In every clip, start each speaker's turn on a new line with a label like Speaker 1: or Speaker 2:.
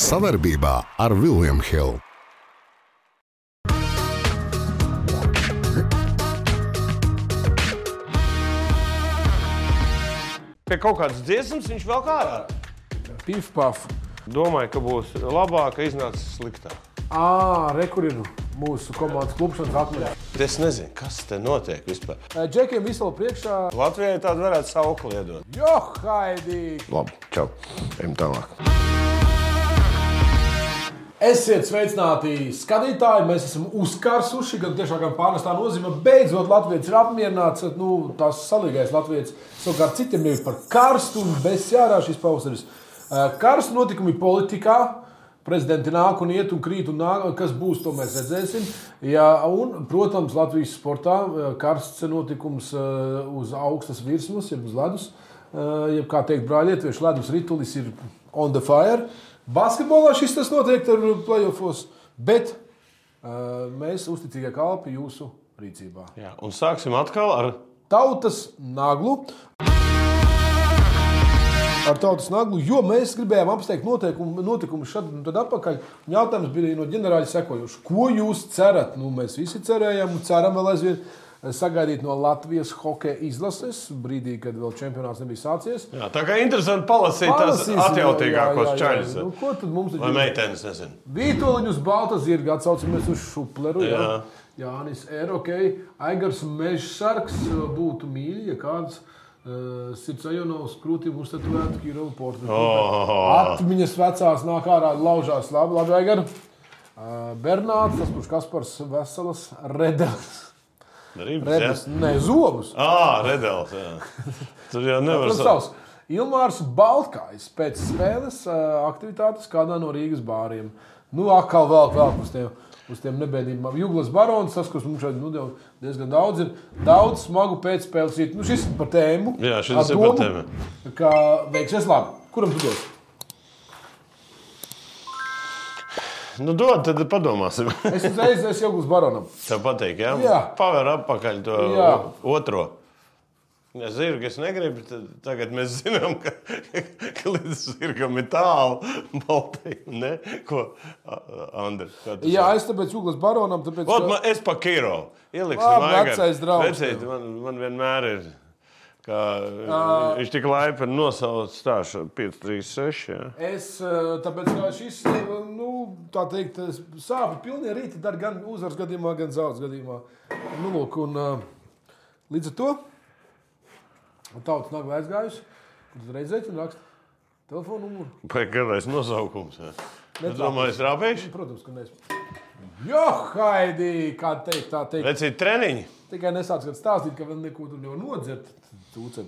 Speaker 1: Savarbībā ar Vilniem Hilu.
Speaker 2: Pie kaut kādas dziesmas viņš vēl kādā.
Speaker 3: Pif, paf.
Speaker 2: Domāju, ka būs labāk, ka iznāks sliktāk.
Speaker 3: Ā, re, kur ir Ah, mūsu komandas klupšanas atmiņa.
Speaker 2: Es nezinu, kas te notiek vispār.
Speaker 3: Eh, Džekiem visu laiku priekšā.
Speaker 2: Latvijai tādu varētu saukli iedot.
Speaker 3: Jo, Haidī!
Speaker 2: Labi, čau. Ejam tālāk.
Speaker 3: Esiet sveicināti, skatītāji! Mēs esam uzkarsuši, gan tiešām gan pārnestā nozīmē. Beidzot, Latvijas ir apmierināts. Nu, tas salīgais Latvijas savukārt citiem nevis par karstu un bezsjārā šis pavasaris. Eh, Karstu notikumi politikā. Prezidenti nāk un iet un krīt, un nāk, kas būs, to mēs redzēsim. Jā, un, protams, Latvijas sportā eh, karsts notikums eh, uz augstas virsmas, jeb uz ledus. Eh, Jeb, kā teikt, brāļietviešu ledus ritulis ir on the fire. Basketbolā šis tas notiek ar playoffs, bet uh, mēs uzticīgie kalpi jūsu rīcībā.
Speaker 2: Jā, un sāksim atkal ar
Speaker 3: Tautas naglu. Ar tautas naglu, jo mēs gribējām apsteigt noteikumu, notikumu šad un tad atpakaļ. Un Jautājums bija no ģenerāļa sekojošs. Ko jūs cerat? Nu, mēs visi cerējām un ceram vēl aizvien eh, sagaidīt no Latvijas hokeja izlases brīdī, kad vēl čempionāts nebija sācies.
Speaker 2: Jā, tā kā interesanti palasīt tās
Speaker 3: Palasīsim, jā, jā,
Speaker 2: atjautīgākos
Speaker 3: jā,
Speaker 2: čaļus. eh.
Speaker 3: jā. Nu, ko tad mums
Speaker 2: Vai
Speaker 3: taču
Speaker 2: meitenes, nezinu.
Speaker 3: Vītoliņu uz balta zirga atcaucamies uz šupleru. Jā.
Speaker 2: Jā.
Speaker 3: Jānis Erokei, Aigars Mežsargs eh, būtu mīļi, ja kāds uh, Sirdsajūnas krūtī mums te tuvētu Kirovu portretu.
Speaker 2: Oh.
Speaker 3: Atmiņas vecās nāk ārā, laužās labi, labi Aigar. Uh, Bernāts, tas kurš Kaspars Veselas, Redels. Redels,
Speaker 2: Ribas, jā.
Speaker 3: ne zobus.
Speaker 2: Ā, redels. Jā. Tur jau nevar
Speaker 3: Tas
Speaker 2: sa-
Speaker 3: savs. Ilmārs Baltkājs pēc spēles ā, aktivitātes kādā no Rīgas bāriem. Nu, atkal vēl vēl uz tiem, uz tiem nebēdībām. Juglas barons, tas, kas mums šeit nu, jau diezgan daudz ir, daudz smagu pēcspēles rītu. Nu, šis ir par tēmu.
Speaker 2: Jā, šis
Speaker 3: Ar
Speaker 2: ir par
Speaker 3: domu, Ka veiksies labi. Kuram tu dos?
Speaker 2: Nu, dod, tad padomāsim.
Speaker 3: Es uzreiz esmu Juglas baronam.
Speaker 2: Tev patīk, jā?
Speaker 3: Jā.
Speaker 2: Paver apakaļ to jā.
Speaker 3: Jā.
Speaker 2: otro. Ja zirga es negribu, tad tagad mēs zinām, ka, ka līdz zirgam ir tālu Baltija. Ne? Ko, Andri? Kā tu
Speaker 3: Jā,
Speaker 2: saki?
Speaker 3: es tāpēc Juglas baronam. Tāpēc,
Speaker 2: Ot,
Speaker 3: ka-
Speaker 2: man, es pa Kiro. Ieliksim
Speaker 3: Labi,
Speaker 2: Aigaru.
Speaker 3: vecais draugs
Speaker 2: Vecīt,
Speaker 3: tev.
Speaker 2: man, man vienmēr ir. Kā, viņš tik laipni nosauca stāstu 536. Jā.
Speaker 3: Es eh, tāpēc kā šis, eh, nu, tā teikt, eh, sāpju pilnie rīti dar gan uzvaras gadījumā, gan zaudz gadījumā. Nu, lūk, un eh, līdz ar to tautas nagla aizgājusi, un uzreiz aicinu rakstu telefonu numuru.
Speaker 2: Vai garais nosaukums? jā? Es domāju, es rāpēšu.
Speaker 3: Protams, ka neesmu. Jo, Haidī, kā teikt, tā teikt.
Speaker 2: Vecīt treniņi.
Speaker 3: Tikai nesāc gan stāstīt, ka vēl neko tur nevar nodzert. Tūcen.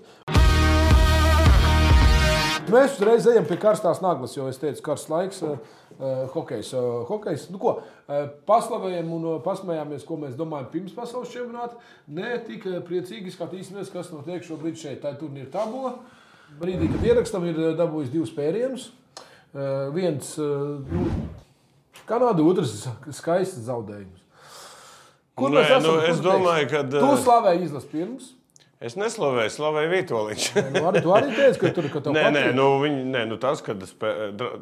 Speaker 3: Mēs uzreiz ejam pie karstās naglas, jo es teicu, karsts laiks, eh, eh, hokejs. eh, hokejs. Nu, ko, eh, paslavējam un eh, pasmējāmies, ko mēs domājam pirms pasaules čempionāta. Nē, tik eh, priecīgi skatīsimies, kas notiek šobrīd šeit. Tā ir turnīra tabula. Brīdī, kad ierakstam, ir eh, dabūjis divus pērienus. Eh, Viens eh, nu, Kanāda, otrs skaists zaudējums. Kur
Speaker 2: Nē,
Speaker 3: mēs esam?
Speaker 2: nu,
Speaker 3: Kur
Speaker 2: es
Speaker 3: tu
Speaker 2: domāju,
Speaker 3: teiksi?
Speaker 2: ka,
Speaker 3: Tu
Speaker 2: eh,
Speaker 3: slavēji izlases pirms.
Speaker 2: Es neslavēju, slavēju Vitoļiņš.
Speaker 3: Nu, arī, tu arī teici, ka tur kaut
Speaker 2: Nē,
Speaker 3: kas
Speaker 2: nē, nu, viņi, nē nu tas, ka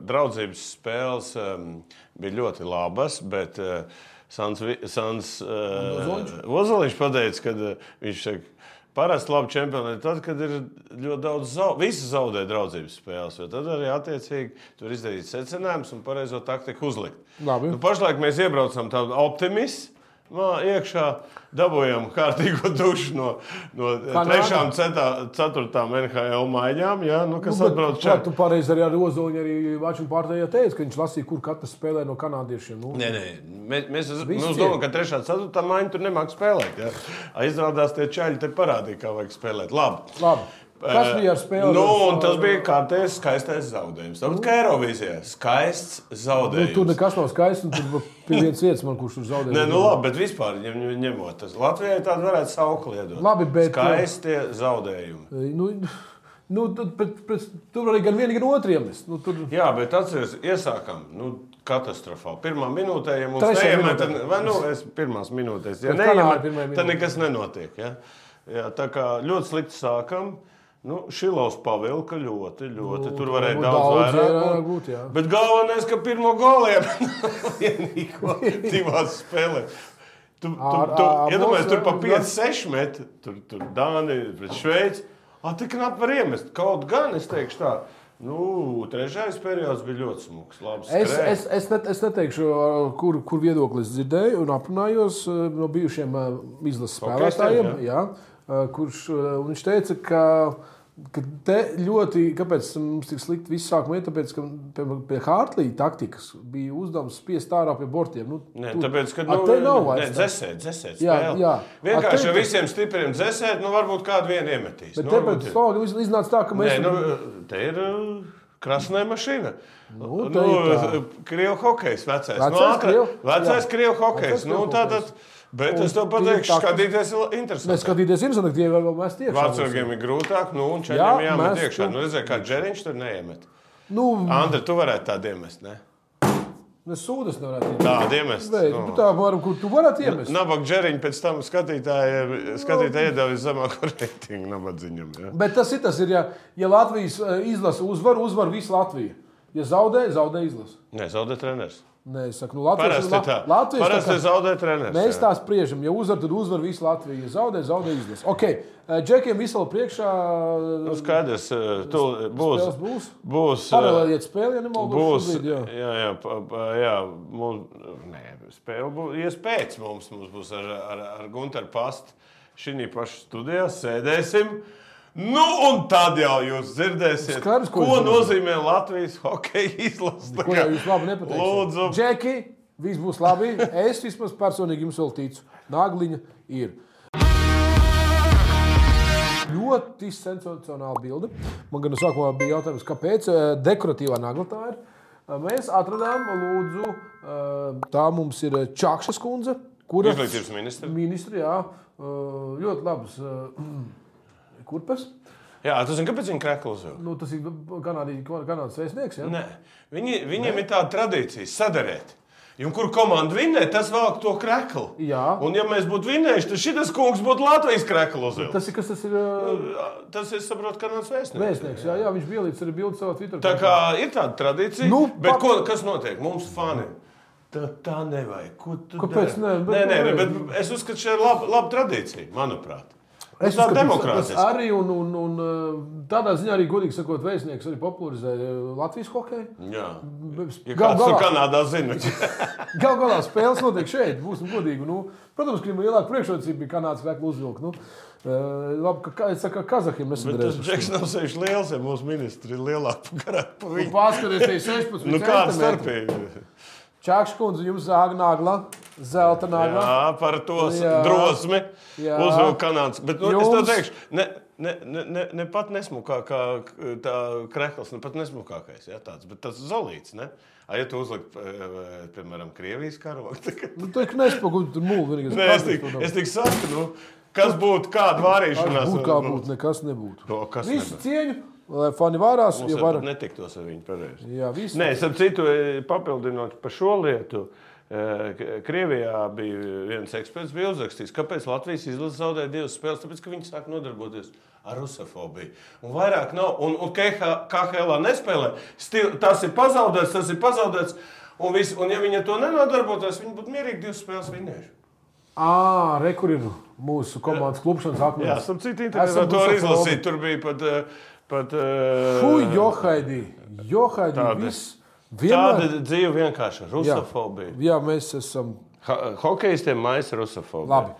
Speaker 2: draudzības spēles um, bija ļoti labas, bet uh, Sans, Vi- Sans uh,
Speaker 3: Ozoliņš?
Speaker 2: Ozoliņš pateica, ka uh, viņš saka, parasti labi čempioni ir tad, kad ir ļoti daudz zaudējumu. Visi zaudē draudzības spēles, jo tad arī attiecīgi tur izdarīt secinājumus un pareizo taktiku uzlikt.
Speaker 3: Labi.
Speaker 2: Nu, pašlaik mēs iebraucam tādu optimismu. Iekšā dabūjām kārtīgo dušu no, no
Speaker 3: Kanāda?
Speaker 2: trešām, cetā, ceturtām NHL maiņām, jā, nu, kas nu, atbrauc šeit.
Speaker 3: Tu pareizi arī ar Ozoliņu, arī Vācijā pārējā teica, ka viņš lasīja, kur katrs spēlē no kanādiešiem. Nu,
Speaker 2: Nē, nē, mēs, mēs
Speaker 3: Visi
Speaker 2: nu, es domājam,
Speaker 3: ir.
Speaker 2: ka trešā, ceturtā maiņa tur nemāks spēlēt. Jā. Izrādās, tie čaļi te parādīja, kā vajag spēlēt. Labi.
Speaker 3: Labi. Kas bija ar spēli?
Speaker 2: Nu, un tas bija kārtējs skaistais zaudējums. Tāpat kā Eirovīzijā. Skaists
Speaker 3: Nu,
Speaker 2: zaudējums.
Speaker 3: tur nekas nav skaists, un tur bija viens vietas, man, kurš tur zaudēja.
Speaker 2: Nē, nu labi, bet vispār ņem, ņem- ņemot, tas Latvijai tādu varētu saukli iedot.
Speaker 3: Labi, bet-
Speaker 2: Skaisti zaudējumi.
Speaker 3: Nu, nu, tad, bet, bet, tur arī gan viena, gan otra iemest. Nu, tur...
Speaker 2: Jā, bet atcerieties, iesākam. Nu, Katastrofāli. Pirmā minūtē, ja mums
Speaker 3: Trešajā
Speaker 2: neiemet,
Speaker 3: minūtē.
Speaker 2: tad- vai nu es pirmās minūtēs, ja
Speaker 3: Bet Kanāda
Speaker 2: neiemet,
Speaker 3: pirmajā
Speaker 2: tad
Speaker 3: minūtē.
Speaker 2: nekas nenotiek. Ja? Jā, tā kā ļoti slikti sākam. Nu, Šilovs pavilka ļoti, ļoti. Nu, tur varēja
Speaker 3: varbūt
Speaker 2: daudz,
Speaker 3: daudz
Speaker 2: vairāk
Speaker 3: vairāk
Speaker 2: būt.
Speaker 3: būt, jā.
Speaker 2: Bet galvenais, ka pirmo goliem vienīgo divās spēlēs. Tu, tu,
Speaker 3: Ar-
Speaker 2: tu
Speaker 3: ar-
Speaker 2: iedomājies,
Speaker 3: mums-
Speaker 2: tur pa
Speaker 3: ar-
Speaker 2: 5-6 metri, tur, tur Dānija pret Šveici. A, tik nāk var iemest. Kaut gan es teikšu tā, nu, trešais periods bija ļoti smags. labs
Speaker 3: Es,
Speaker 2: skrējiens.
Speaker 3: es, es, net, es neteikšu, kur, kur viedokli es dzirdēju un aprunājos eh, no bijušiem eh, izlases
Speaker 2: Hokeja
Speaker 3: spēlētājiem.
Speaker 2: steidzam,
Speaker 3: Jā, eh, kurš eh, un viņš teica, ka, ka te ļoti, kāpēc mums tik slikti viss sākumā ir, tāpēc, ka pie, pie Hartlīja taktikas bija uzdevums spiest ārā pie bortiem. Nu,
Speaker 2: Nē,
Speaker 3: tu-
Speaker 2: tāpēc, ka
Speaker 3: A, te nav
Speaker 2: nē,
Speaker 3: vairs. tā.
Speaker 2: dzēsēt, dzēsēt.
Speaker 3: Jā,
Speaker 2: spēle.
Speaker 3: jā. A,
Speaker 2: Vienkārši
Speaker 3: te-
Speaker 2: ar visiem stipriem dzēsēt, nu varbūt kādu vienu iemetīs.
Speaker 3: Bet
Speaker 2: Nu,
Speaker 3: te
Speaker 2: varbūt
Speaker 3: pēc
Speaker 2: ir.
Speaker 3: tam iznāca tā, ka
Speaker 2: Nē,
Speaker 3: mēs.
Speaker 2: nu, te ir uh, krasnē mašīna.
Speaker 3: Nu, tā
Speaker 2: nu,
Speaker 3: ir tā.
Speaker 2: Krievu hokejs, vecais.
Speaker 3: Vecais
Speaker 2: nu, ātrā-
Speaker 3: krievu-
Speaker 2: vecais
Speaker 3: jā.
Speaker 2: krievu hokejs.
Speaker 3: Vecais
Speaker 2: Nu,
Speaker 3: krievu
Speaker 2: tātad, bet
Speaker 3: Un
Speaker 2: es tev
Speaker 3: tie
Speaker 2: pateikšu,
Speaker 3: tā-
Speaker 2: skatīties ir
Speaker 3: Mēs
Speaker 2: interesanti.
Speaker 3: skatīties, ir zināms, ka tie vēl mēs tiešām.
Speaker 2: Vācijiem ir grūtāk, nu, un
Speaker 3: Jā,
Speaker 2: četriem jāmet
Speaker 3: mēs
Speaker 2: iekšā.
Speaker 3: tu-
Speaker 2: Nu, redzēji, kā džeriņš tur neiemet.
Speaker 3: Nu,
Speaker 2: Andri, tu varētu tādu iemest, ne?
Speaker 3: ne sūdas nevarētu iemest.
Speaker 2: Tādu iemest.
Speaker 3: Bet,
Speaker 2: nu.
Speaker 3: nu. Tā varam, kur tu varētu iemest.
Speaker 2: Nabaga džeriņš pēc tam skatītāji, skatītāji iedeva zemāko reitingu nabadzīgam. Ja?
Speaker 3: Bet tas ir tas, ir, ja, ja Latvijas eh, izlase uzvar, uzvar visu Latviju. Ja zaudē, zaudē izlase.
Speaker 2: Nē, zaudē treneris.
Speaker 3: Nē, es saku, nu, Latvijas
Speaker 2: Parasti tā.
Speaker 3: Latvijas
Speaker 2: Parasti
Speaker 3: tā kā,
Speaker 2: zaudē treneris.
Speaker 3: mēs
Speaker 2: jā.
Speaker 3: tā spriežam. Ja uzvar, tad uzvar visu Latviju. Ja zaudē, zaudē izlase. Ok, eh, Džekiem visam priekšā
Speaker 2: Nu, skaidrs, eh, tu būs.
Speaker 3: spēles būs.
Speaker 2: Būs. eh,
Speaker 3: Paralēliet spēli, ja nemaldos.
Speaker 2: Būs.
Speaker 3: šobrīd, jā.
Speaker 2: Jā, jā, pa- pa- jā mums, nē, spēle būs. Iespējams, mums, mums būs ar, ar, ar Gunteru Pastu šī paša studijā sēdēsim. Nu, un tad jau jūs dzirdēsiet,
Speaker 3: Skaidrs,
Speaker 2: ko,
Speaker 3: ko jūs
Speaker 2: ko
Speaker 3: dzirdēsiet.
Speaker 2: nozīmē Latvijas hokeja izlase. Tā
Speaker 3: Ko
Speaker 2: kā-
Speaker 3: jau jūs labi nepateicat?
Speaker 2: Lūdzu,
Speaker 3: Džeki, viss būs labi. Es vismaz personīgi jums vēl ticu. Nāgliņa ir. Ļoti sensacionāla bilde. Man gan sākumā bija jautājums, kāpēc eh, dekoratīvā nagla tā ir. Eh, Mēs atradām, lūdzu, eh, tā mums ir eh, Čakšas kundze, kura
Speaker 2: izglītības ministrs.
Speaker 3: ministri, jā, eh, ļoti labas eh, kurpes.
Speaker 2: Jā, tu zini, kāpēc viņi krāklus jau?
Speaker 3: Nu, tas ir Kanādas Kanādas vēstnieks. Ja?
Speaker 2: Nē, viņi, viņiem Nē. ir tāda tradīcija sadarīt. Un kur komanda vinnē, tas valk to krāklu.
Speaker 3: Jā.
Speaker 2: Un ja mēs būtu vinnējuši, tad šis kungs būtu Latvijas krāklus.
Speaker 3: Tas ir kas tas ir. eh,
Speaker 2: Nu, Tas ir saprotu, ka nav
Speaker 3: Vēstnieks,
Speaker 2: vēstnieks.
Speaker 3: jā, jā, viņš bija līdz arī bildes savā Twitter.
Speaker 2: Tā kā ir tāda tradīcija,
Speaker 3: Nu,
Speaker 2: nu, bet
Speaker 3: pat-
Speaker 2: ko, kas notiek? Mums fani. Tā, tā nevajag. Ko tu
Speaker 3: Kāpēc
Speaker 2: dari?
Speaker 3: ne? Bet-
Speaker 2: Nē, nē, nē, bet es uzskatu, ka šī ir laba, laba tradīcija, manuprāt.
Speaker 3: Es
Speaker 2: Es tā
Speaker 3: uzskatu, tas-
Speaker 2: demokrātiski.
Speaker 3: tas Arī un, un, un eh, tādā ziņā arī godīgi sakot, vēstnieks arī popularizē eh, Latvijas hokeju.
Speaker 2: Jā. Ja
Speaker 3: Gal
Speaker 2: kāds to
Speaker 3: galā,
Speaker 2: Kanādā zina,
Speaker 3: gal galā spēles notiek šeit, būsim godīgi. Nu, protams, ka viņam lielāka priekšrocība bija kanādas vēkla uzvilkt. Nu, eh, labi, ka- ka es saku, ka Kazahiem
Speaker 2: Bet tas
Speaker 3: nesadarbojas.
Speaker 2: džeks nav sevišķi liels, ja mūsu ministri ir lielāki par garāku par viņu.
Speaker 3: Pārskaties, te ir 16.
Speaker 2: Nu, kāda
Speaker 3: centimetri.
Speaker 2: starpība?
Speaker 3: Čakškundze, jums zāga nagla, zelta nagla.
Speaker 2: Jā, par to s-
Speaker 3: Jā.
Speaker 2: drosmi
Speaker 3: Jā.
Speaker 2: uzvilkt kanādas. Bet nu, es tev
Speaker 3: Jums-
Speaker 2: teikšu, ne, ne, ne, ne, ne pat nesmukākā k- tā krekls, ne pat nesmukākais, jā, tāds, bet tas zalīts, ne? A, ja tu uzlikt, eh, piemēram, Krievijas karogu, tā kā...
Speaker 3: Nu, tā ir nespagūta, tur mūl, vienīgais.
Speaker 2: Nē, es tik, es tik saku, nu, kas būtu, kāda vārīšanās?
Speaker 3: Būtu kā būtu, nekas nebūtu.
Speaker 2: To, kas
Speaker 3: Visu
Speaker 2: nebūtu.
Speaker 3: cieņu, lai fani vārās,
Speaker 2: Mums
Speaker 3: jo
Speaker 2: ja
Speaker 3: vairāk.
Speaker 2: varam... netiktos ar viņu pareizi.
Speaker 3: Jā, viss.
Speaker 2: Nē, starp citu, e, papildinot par šo lietu, e, K- Krievijā bija viens eksperts, bija uzrakstījis, kāpēc Latvijas izlase zaudēja divas spēles. Tāpēc, ka viņi sāk nodarboties ar rusofobiju. Un vairāk nav, un, un KH KHL nespēlē. Stil, tas ir pazaudēts, tas ir pazaudēts. Un, vis, un ja viņi ar to nenodarbotos, viņi būtu mierīgi divas spēles vinnējuši.
Speaker 3: Ā, re, kur ir mūsu komandas klupšanas
Speaker 2: Jā,
Speaker 3: akmens.
Speaker 2: starp citu,
Speaker 3: Esam
Speaker 2: internetā to arī
Speaker 3: rusofobi.
Speaker 2: izlasīt. Tur bija pat. e, pat
Speaker 3: Fū,
Speaker 2: e,
Speaker 3: johaidī, johaidī,
Speaker 2: Tāda-
Speaker 3: viss.
Speaker 2: Tāda
Speaker 3: Vienmēr,
Speaker 2: dzīve vienkārši ir rusofobija.
Speaker 3: jā, mēs esam
Speaker 2: Ho- Hokejistiem mājas ir rusofobija.
Speaker 3: labi.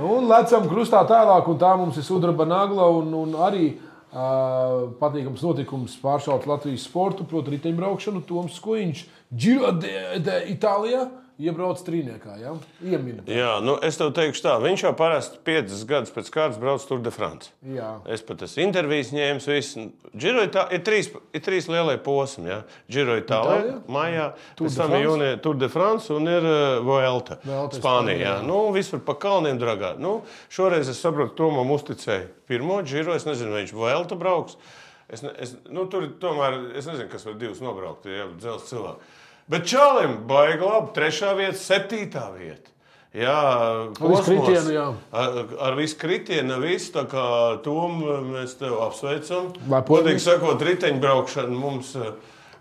Speaker 3: Un lecam krustā tālāk, un tā mums ir sudraba nagla, un, un arī uh, patīkams notikums pāršaut Latvijas sportu, proti, riteņbraukšanu. Toms Skuiņš, Giro d'Itālijā, iebrauc trīniekā, jā, iemina.
Speaker 2: Jā, nu es tev teikšu tā, viņš jau parasti piecas gadus pēc kārtas brauc Tour de France.
Speaker 3: Jā.
Speaker 2: Es pat esmu intervijis ņēmis, visu. Giro Itā- ir trīs, ir trīs lielie posmi. Jā. Giro
Speaker 3: Nu
Speaker 2: Itālijā,
Speaker 3: Itālijā?
Speaker 2: Maijā,
Speaker 3: de
Speaker 2: pēc tam
Speaker 3: France?
Speaker 2: jūnijā Tour de France un ir uh, Vuelta.
Speaker 3: Vuelta
Speaker 2: Spānijā. Nu, visur pa kalniem dragā. Nu, šoreiz es saprotu, Tomam uzticēju pirmo Giro. Es nezinu, vai viņš Vuelta brauks. Es, ne, es, nu, tur ir tomēr es nezinu, kas var divus nobraukt, ja dzelzs cilvēks. Bet Čālim baigi labi, trešā vieta, septītā vieta. Jā,
Speaker 3: visu
Speaker 2: posmos.
Speaker 3: Nu, kritienu, jā.
Speaker 2: Ar, ar visu kritienu, visu tā kā tom mēs tev apsveicam.
Speaker 3: Lai
Speaker 2: Godīgi
Speaker 3: pozīcijas-
Speaker 2: sakot, riteņbraukšana mums, eh,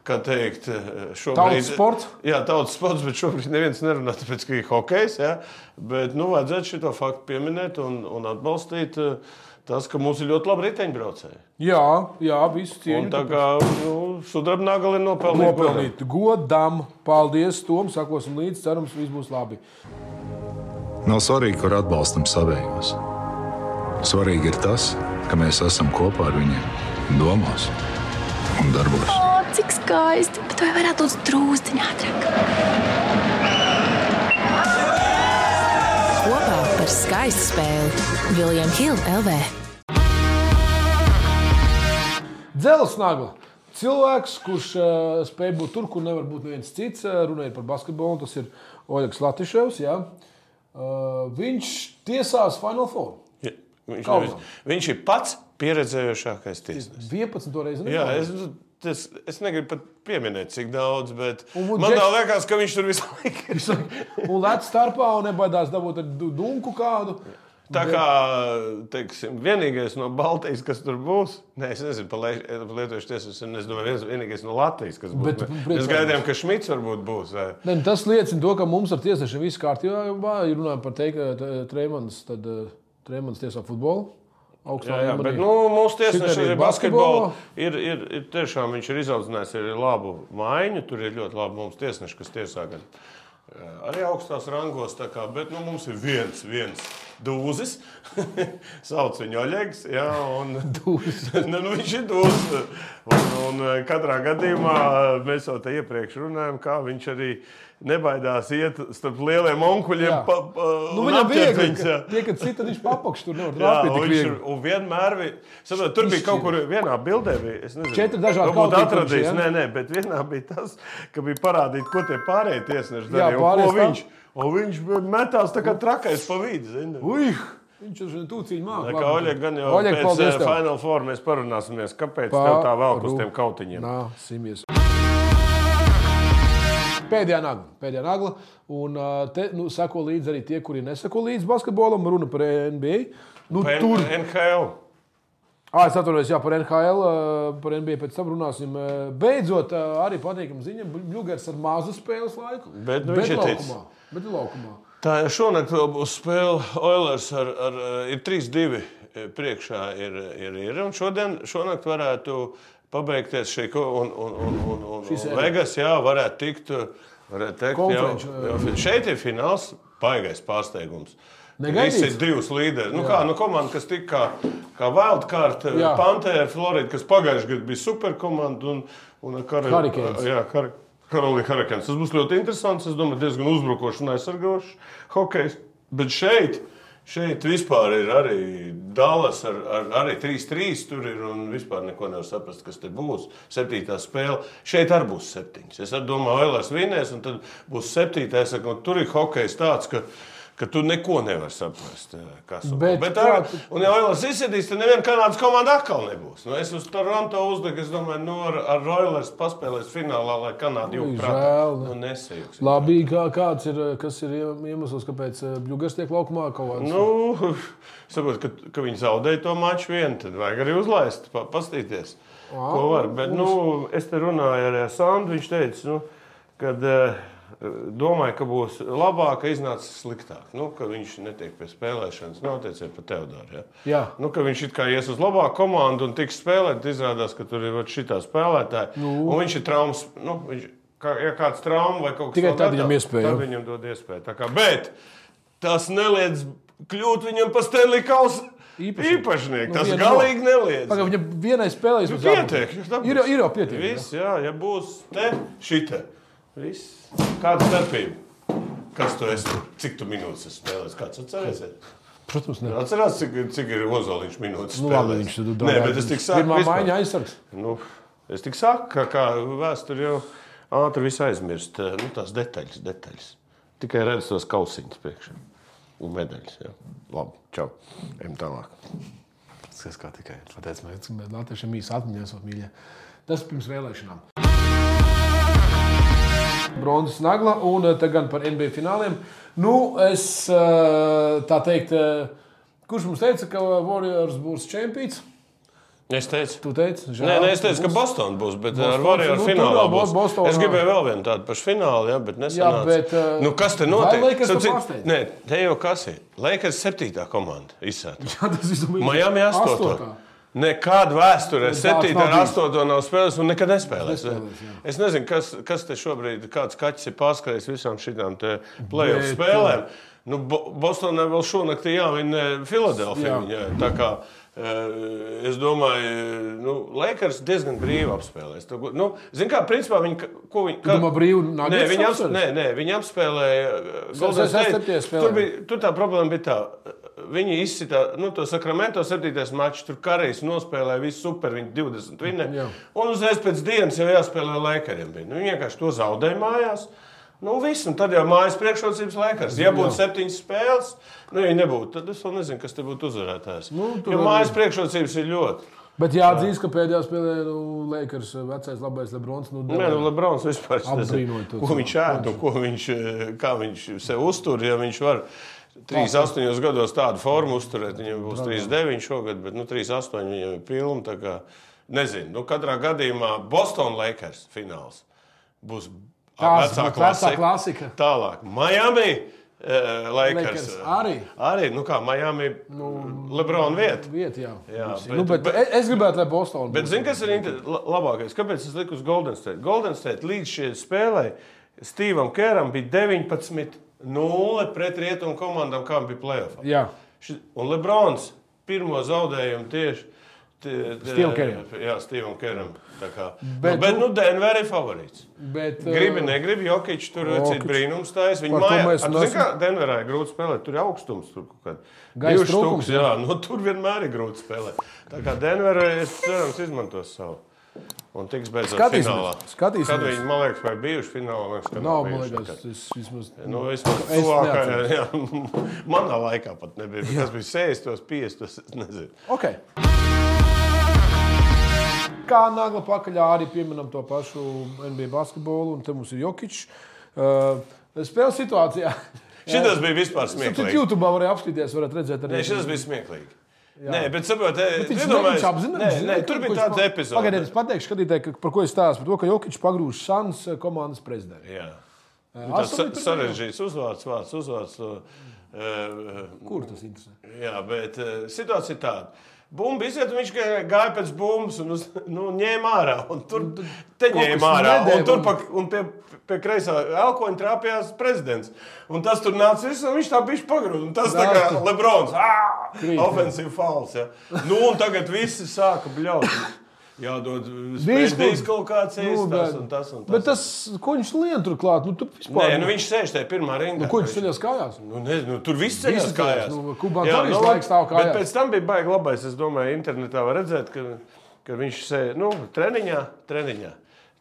Speaker 2: kā teikt, eh, šobrīd.
Speaker 3: Tautas sports?
Speaker 2: Jā, tautas sports, bet šobrīd neviens nerunā, tāpēc, ka ir hokejs. Jā. Bet, nu, vajadzētu šo faktu pieminēt un, un atbalstīt eh, tas, ka mums ir ļoti labi riteņbraucēji.
Speaker 3: Jā, jā visu
Speaker 2: Un
Speaker 3: cieņu.
Speaker 2: tā kā nu, sudrabnā galā nopelnīt. godu.
Speaker 3: Nopelnīt godam. Paldies, Tom. Sakosim līdzi. Cerams, viss būs labi.
Speaker 4: Nav svarīgi, kur atbalstam savējos. Svarīgi ir tas, ka mēs esam kopā ar viņiem, domās un darbos.
Speaker 5: O, cik skaisti! Bet vai varētu būt drūzdiņā ātrāk?
Speaker 6: Kopā par skaistu spēli Viljams Hilde LV.
Speaker 3: Dzelzsnagla. Cilvēks, kurš uh, spēj būt tur, kur nevar būt neviens cits, uh, runājot par basketbolu, tas ir Oļegs Latvijas. Uh, viņš tiesās Final Four.
Speaker 2: Jā, Viņš,
Speaker 3: Kalnam.
Speaker 2: nevis- viņš ir pats pieredzējušākais tiesnesis.
Speaker 3: 11. reizi.
Speaker 2: Jā, es, tas, es negribu pat pieminēt, cik daudz, bet
Speaker 3: Un, un
Speaker 2: man
Speaker 3: Džeks-
Speaker 2: tā liekas, ka viņš tur visu laiku ir.
Speaker 3: Un lec starpā un nebaidās dabūt ar du- dunku kādu.
Speaker 2: Tā kā teiksim, vienīgais no Baltijas, kas tur būs, ne, es nezinu, par Lai- par Lietuvas tiesu, es domāju, viens vienīgais no Latvijas, kas būs.
Speaker 3: Bet,
Speaker 2: Bet,
Speaker 3: priecājos.
Speaker 2: mēs gaidījām, ka Šmits varbūt būs. vai?
Speaker 3: Ne, nu tas liecina to, ka mums ar tiesnešiem viss kārtībā. Ja runājam par Trēmanas, tad Trēmanas tiesā futbolu. augstā
Speaker 2: Jā, jā,
Speaker 3: līmenī.
Speaker 2: bet nu, mūsu tiesnesis
Speaker 3: Šitā
Speaker 2: arī
Speaker 3: arī
Speaker 2: basketbolā
Speaker 3: basketbolā.
Speaker 2: ir, ir, ir tiešām viņš ir izaudzinājis arī labu maiņu. Tur ir ļoti labi mums tiesneši, kas tiesā gan eh, arī augstās rangos. tā Kā, bet nu, mums ir viens, viens dūzis, sauc viņu Oļegs. Jā, un, nu, nu, viņš ir dūzis. Un, un eh, katrā gadījumā eh, mēs jau te iepriekš runājam, kā viņš arī nebaidās iet starp lieliem onkuļiem.
Speaker 3: Jā.
Speaker 2: Pa, pa,
Speaker 3: Nu,
Speaker 2: un
Speaker 3: viņam
Speaker 2: apķert
Speaker 3: viegli,
Speaker 2: viņus,
Speaker 3: ka,
Speaker 2: jā.
Speaker 3: tie, kad cita viņš papakš tur nevar
Speaker 2: Jā,
Speaker 3: trāpīt.
Speaker 2: un
Speaker 3: tik
Speaker 2: viņš ir
Speaker 3: viegli.
Speaker 2: un vienmēr bija. Saprot, tur bija kaut kur vienā bildē, bija es nezinu,
Speaker 3: Četri dažādi
Speaker 2: varbūt
Speaker 3: kalti
Speaker 2: atradīs.
Speaker 3: kurš, ja?
Speaker 2: Nē, nē, bet vienā bija tas, ka bija parādīt, ko tie pārējie tiesneši
Speaker 3: Jā,
Speaker 2: darīja. un ko
Speaker 3: pārējais tā.
Speaker 2: viņš, un viņš metās tā kā trakais pa vidu. zini.
Speaker 3: Uih, viņš ir tūciņš
Speaker 2: Tā kā Oļeg, gan jau
Speaker 3: Oļeg,
Speaker 2: pēc
Speaker 3: paldies
Speaker 2: eh,
Speaker 3: tev.
Speaker 2: Final Four mēs parunāsimies, kāpēc
Speaker 3: Pa-
Speaker 2: tev tā velk uz
Speaker 3: ru-
Speaker 2: tiem kautiņiem.
Speaker 3: Nā, simies. Pēdējā nagla. Pēdējā nagla. Un ā, te nu, sako līdzi arī tie, kuri nesako līdzi basketbolam. Runa par NBA. Nu,
Speaker 2: Pa N-
Speaker 3: tur
Speaker 2: NHL.
Speaker 3: Ah, es atceros, jā, par NHL, ā, par NBA pēc tam runāsim. Ā, Beidzot, ā, arī patīkam ziņa, Bļūgers ar mazu spēles laiku.
Speaker 2: Bet, nu, viņš ir ticis.
Speaker 3: laukumā. Bet laukumā.
Speaker 2: Tā jau šonakt vēl būs spēle Oilers ar, ar eh, ir 3-2 eh, priekšā. Ir, ir, ir. Un šodien, šonakt varētu pabeigties šī ko- un, un, un, un, un, un
Speaker 3: sērija.
Speaker 2: Vegas, jā, varētu tikt. eh, Varētu teikt,
Speaker 3: Konferenču,
Speaker 2: jau, jau, fi- šeit ir fināls, paigais pārsteigums.
Speaker 3: Negaidīts?
Speaker 2: Visi divus līderus. Nu, kā nu, komanda, kas tika kā, kā Wildcard,
Speaker 3: Jā.
Speaker 2: Pantēra, Florida, kas pagājušajā gadā bija superkomanda un, un Kar
Speaker 3: Hurricanes.
Speaker 2: Jā, Kar Karolīna Harakens. Tas būs ļoti interesants. Es domāju, diezgan uzbrukošs un aizsargošs hokejs. Bet šeit, šeit vispār ir arī Dallas, ar, ar, arī 3-3 tur ir un vispār neko nevar saprast, kas te būs. Septītā spēle. Šeit arī būs septiņas. Es arī domāju, Oilers vinnēs, un tad būs septītā. Es saku, nu, tur ir hokejs tāds, ka, ka tu neko nevar saprast. eh, Kas un
Speaker 3: Bet
Speaker 2: ko. bet
Speaker 3: kā
Speaker 2: ar,
Speaker 3: tu-
Speaker 2: Un, ja Oilers izsēdīs, tad neviena kanādas komanda atkal nebūs. Nu, es uz Toronto uzdevu, es domāju, nu, ar, ar Oilers paspēlēs finālā, lai Kanāda jau
Speaker 3: Ui,
Speaker 2: prātā
Speaker 3: žēl,
Speaker 2: nu, nesajūgs.
Speaker 3: Labi, kā, kāds ir, ā, kas ir iem- iemesls, kāpēc ā, Bļūgers tiek laukumā kaut kāds?
Speaker 2: Nu, saprot, ka, ka viņi zaudēja to maču vienu, tad vajag arī uzlaist, pa, paskatīties, ko var. Bet, nu, es te runāju ar Sandu, viņš teica, nu, kad eh, domāju, ka būs labāk, ka iznāca sliktāk. Nu, ka viņš netiek pie spēlēšanas, Nu, nav teicis par Teodoru. Ja?
Speaker 3: Jā.
Speaker 2: Nu, ka viņš it kā ies uz labāku komandu un tiks spēlēt, tad izrādās, ka tur ir šī tā spēlētāja. Nu. Un viņš ir traumas. Nu, viņš, Kā, ja kāds traumas vai kaut kas
Speaker 3: Tikai
Speaker 2: vēl
Speaker 3: tad viņam
Speaker 2: nedaudz,
Speaker 3: iespēja,
Speaker 2: Tad
Speaker 3: jā.
Speaker 2: viņam dod iespēju. Tā Kā, bet tas neliedz kļūt viņam par Stanley Kausa
Speaker 3: Īpašnieku.
Speaker 2: īpašnieku.
Speaker 3: Nu,
Speaker 2: Tas
Speaker 3: vienu
Speaker 2: galīgi neliedz.
Speaker 3: Pagaid, Viņam vienai spēlē
Speaker 2: Nu,
Speaker 3: jau
Speaker 2: Pietiek, ja dabūs.
Speaker 3: Ir, jau- ir jau pietiek. jā.
Speaker 2: Viss, jā, ja būs te šita. Viss. Kāda starpība? Kas tu esi? Cik tu minūtes esi spēlējis? Kāds atcerēsies?
Speaker 3: Protams, ne.
Speaker 2: Atcerās, cik, cik ir Ozoliņš minūtes.
Speaker 3: Nu, labi, viņš tur
Speaker 2: Nē, bet es tik saku.
Speaker 3: Pirmā
Speaker 2: vispār.
Speaker 3: maiņa aizsargs.
Speaker 2: Nu, es tik saku, ka kā vēsture jau ātri viss aizmirst. Nu, tās detaļas, detaļas. Tikai redzu tos kausiņus priekšā. Un medaļas. Jā. Labi, čau. Ejam tālāk.
Speaker 3: Skaties, kā tikai pateicis, mēs esam Latvijas īsi atmiņā, esam mīļi. Tas pirms vēlēšanām. bronzas nagla, un eh, te gan par NBA fināliem. Nu, es eh, tā teikt, eh, kurš mums teica, ka Warriors būs čempions?
Speaker 2: Es teicu.
Speaker 3: Tu teici,
Speaker 2: Nē, nē, es teicu, ka Bostonā būs, bet Boston, ar
Speaker 3: Bostons,
Speaker 2: Warriors
Speaker 3: nu, tur
Speaker 2: finālā
Speaker 3: jau
Speaker 2: būs.
Speaker 3: Bostonā.
Speaker 2: Es gribēju vēl vienu tādu pašu finālu, jā, bet
Speaker 3: Jā,
Speaker 2: nesanāca.
Speaker 3: bet, eh,
Speaker 2: nu, kas te
Speaker 3: vai
Speaker 2: notiek?
Speaker 3: Lakers
Speaker 2: Starp
Speaker 3: tev
Speaker 2: citu,
Speaker 3: pārsteidz?
Speaker 2: Nē, te jau kas ir. Lakers septītā komanda izsēta.
Speaker 3: Jā, tas viss bija
Speaker 2: Miami astotā.
Speaker 3: Astotā.
Speaker 2: Nekāda vēsturē,
Speaker 3: Tāds
Speaker 2: septītā ar
Speaker 3: nav bijis.
Speaker 2: astoto nav spēlējis un nekad nespēlējis.
Speaker 3: Nespēlējis, jā.
Speaker 2: Es nezinu, kas, kas te šobrīd, kāds kaķis ir pārskrējis visām šīm playoff
Speaker 3: Bet, eh,
Speaker 2: spēlēm. Nu, Bo- Bostonai vēl šonakt ir jāvinē Filadelfija.
Speaker 3: Jā.
Speaker 2: Jā. Tā kā, eh, es domāju, ka nu, Lakers diezgan brīvi apspēlēs. Tu go- Nu, Zini, kā principā viņi, ka- ko viņi kā-
Speaker 3: domā, brīvi Nuggets
Speaker 2: Nē, viņi
Speaker 3: apspēlēs?
Speaker 2: apspēlēja. Nē, nē, viņi apspēlēja. eh, Golden
Speaker 3: es- es
Speaker 2: State.
Speaker 3: septītajā spēlē.
Speaker 2: Tur, bija, tur tā problēma bija tā. Viņi izsita nu, to sakramento septītais mačs, tur karjeras nospēlēja visu super, viņi 20 vinnēja.
Speaker 3: Jā.
Speaker 2: Un uzreiz pēc dienas jau jāspēlē laikariem. bija. Nu, viņi vienkārši to zaudēja mājās. Nu, viss, un tad jau mājas priekšrocības laikas. Ja būtu septiņas spēles, nu, ja nebūtu, tad es vēl nezinu, kas te būtu uzvarētājs.
Speaker 3: Nu, tur
Speaker 2: jo
Speaker 3: arī-
Speaker 2: mājas priekšrocības ir ļoti.
Speaker 3: Bet jāatzīst, ka pēdējā spēlē nu, Lakers vecais labais Lebrons. Nu,
Speaker 2: Nē, nu, Lebrons vispār nezina,
Speaker 3: Apbrīnoju to
Speaker 2: ko
Speaker 3: cilvēku.
Speaker 2: viņš ēd un ko viņš, eh, kā viņš sev uztur. Ja viņš var 38 gados tādu formu uzturēt, viņam būs 39 šogad, bet nu, 38 viņam ir pilna. tā kā, Nezinu, nu, katrā gadījumā Boston Lakers fināls būs
Speaker 3: Tās
Speaker 2: vecā
Speaker 3: būs vecā klasika.
Speaker 2: Tālāk, Miami. eh, Lakers.
Speaker 3: Lakers arī. Nu,
Speaker 2: Arī, nu kā Miami, Lebrona vieta.
Speaker 3: Vieta, jā.
Speaker 2: Jā,
Speaker 3: Visi.
Speaker 2: bet-
Speaker 3: nu, bet,
Speaker 2: bet-
Speaker 3: bet, es gribētu, lai Bostonā
Speaker 2: Bet zini, kas ir inter- la- labākais? Kāpēc es liku uz Golden State? Golden State līdz šai spēlē Steveam Kēram bija 19-0 pret rietumu komandām, kā bija plēsoņā.
Speaker 3: Jā,
Speaker 2: Un Lebrons pirmo zaudējumu tieši.
Speaker 3: Steve'am Kerram.
Speaker 2: Jā, Steve'am Keram. Bet, nu,
Speaker 3: Bet
Speaker 2: bet
Speaker 3: tu-
Speaker 2: nu, Denver ir favorīts.
Speaker 3: bet, eh,
Speaker 2: Gribi, negribi, Jokic tur ir
Speaker 3: Jokic.
Speaker 2: brīnums. Tā ir viņa
Speaker 3: Par to
Speaker 2: māja.
Speaker 3: mēs
Speaker 2: Mēs mēs...
Speaker 3: neesam-
Speaker 2: Kā Denverā ir grūti spēlēt, tur ir augstums. Tur kaut kāda
Speaker 3: Gaisa
Speaker 2: 200
Speaker 3: trūkums,
Speaker 2: tūkstoši, jā, nu, tur vienmēr ir grūti spēlēt. Tā kā Denverā es cerams izmantos savu. Un tiks beidzot
Speaker 3: Skatīsimies,
Speaker 2: finālā.
Speaker 3: skatīsimies.
Speaker 2: Kad viņi, man liekas, vai bijuši finālā, man liekas, ka nav
Speaker 3: nav
Speaker 2: bijuši
Speaker 3: monētas.
Speaker 2: nekad.
Speaker 3: Es vismaz
Speaker 2: Nu, vismaz
Speaker 3: Es
Speaker 2: tuvākajā, jā, manā laikā pat nebija. bet Tas bija 60, 50. es Nezinu.
Speaker 3: Okay. Kā nagla pakaļā arī pieminam to pašu NBA basketbolu, un te mums ir Jokic. Uh, Spēles situācijā.
Speaker 2: Šitas bija vispār
Speaker 3: Tur
Speaker 2: smieklīgi.
Speaker 3: YouTube varēja apskatīties, varat redzēt arī.
Speaker 2: Nē, šis bija smieklīgi. Nē, bet saprotiet,
Speaker 3: Viņš
Speaker 2: iedomājieties-
Speaker 3: apzināties,
Speaker 2: Nē, nē, tur bija tāds epizods.
Speaker 3: Pagaidiet, es pateikšu, skatītāji, ka- par ko es stāstu. Par to, ka Jokic pagrūž Sans komandas prezidentu.
Speaker 2: Jā. Nu,
Speaker 3: Astoņi
Speaker 2: Tas sa-
Speaker 3: pirmie?
Speaker 2: sarežģīts uzvārds, vārds, uzvārds. to, eh,
Speaker 3: Kur tas interesē?
Speaker 2: Jā, bet eh, situācija ir tāda. Bumba iziet, un viņš gāja gāja pēc bumbas un uz, nu, ņēma ārā. un Tur
Speaker 3: Nu,
Speaker 2: te ņēma
Speaker 3: kas
Speaker 2: ārā.
Speaker 3: nedēļa.
Speaker 2: Un tur pa, un pie, pie kreisā elkoņa trāpījās prezidents. Un tas tur nāca viss, un viņš tā bija pagrūdis. Tas tā kā
Speaker 3: Nāc.
Speaker 2: Lebrons.
Speaker 3: Krīt, jā.
Speaker 2: Offensīva fals. Ja. Nu, un tagad visi sāka bļaut. Jādod spēļīs
Speaker 3: Disku.
Speaker 2: kaut kāds
Speaker 3: Nu,
Speaker 2: īstās un tas un tas.
Speaker 3: Bet tas, ko viņš lien turklāt, nu tu vispār.
Speaker 2: Nē, nu viņš sēž tajā pirmā rindā.
Speaker 3: Ko viņš ceļās kājās?
Speaker 2: Nu, nezinu, tur viss ir
Speaker 3: Viss
Speaker 2: kājās.
Speaker 3: ceļās, nu, Kubā arī visu laiku stāv kājās.
Speaker 2: Bet pēc tam bija baigi labais. Es domāju, internetā var redzēt, ka, ka viņš sēž nu, treniņā, treniņā.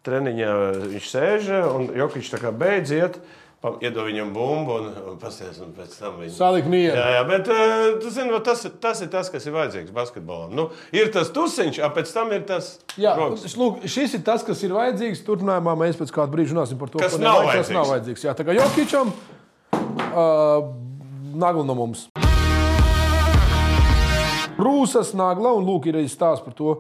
Speaker 2: Treniņā viņš sēž un Jokic tā kā beidz iet. pa- Iedod viņam bumbu un, un pasties, un pēc tam viņš.
Speaker 3: Salik mieru.
Speaker 2: Jā, jā, bet eh, tu zini, va, tas, tas ir tas, kas ir vajadzīgs basketbolam. Nu, ir tas tusiņš, un pēc tam ir tas,
Speaker 3: Jā,
Speaker 2: rokas.
Speaker 3: š- lūk, šis ir tas, kas ir vajadzīgs. Turpinājumā mēs pēc kāda brīža runāsim par to,
Speaker 2: Kas
Speaker 3: ko
Speaker 2: nav
Speaker 3: nevajag,
Speaker 2: vajadzīgs.
Speaker 3: kas nav vajadzīgs. Jā, tā kā Jokičam, uh, nagla no mums. Rūsas nagla, un lūk, ir arī stāsts par to,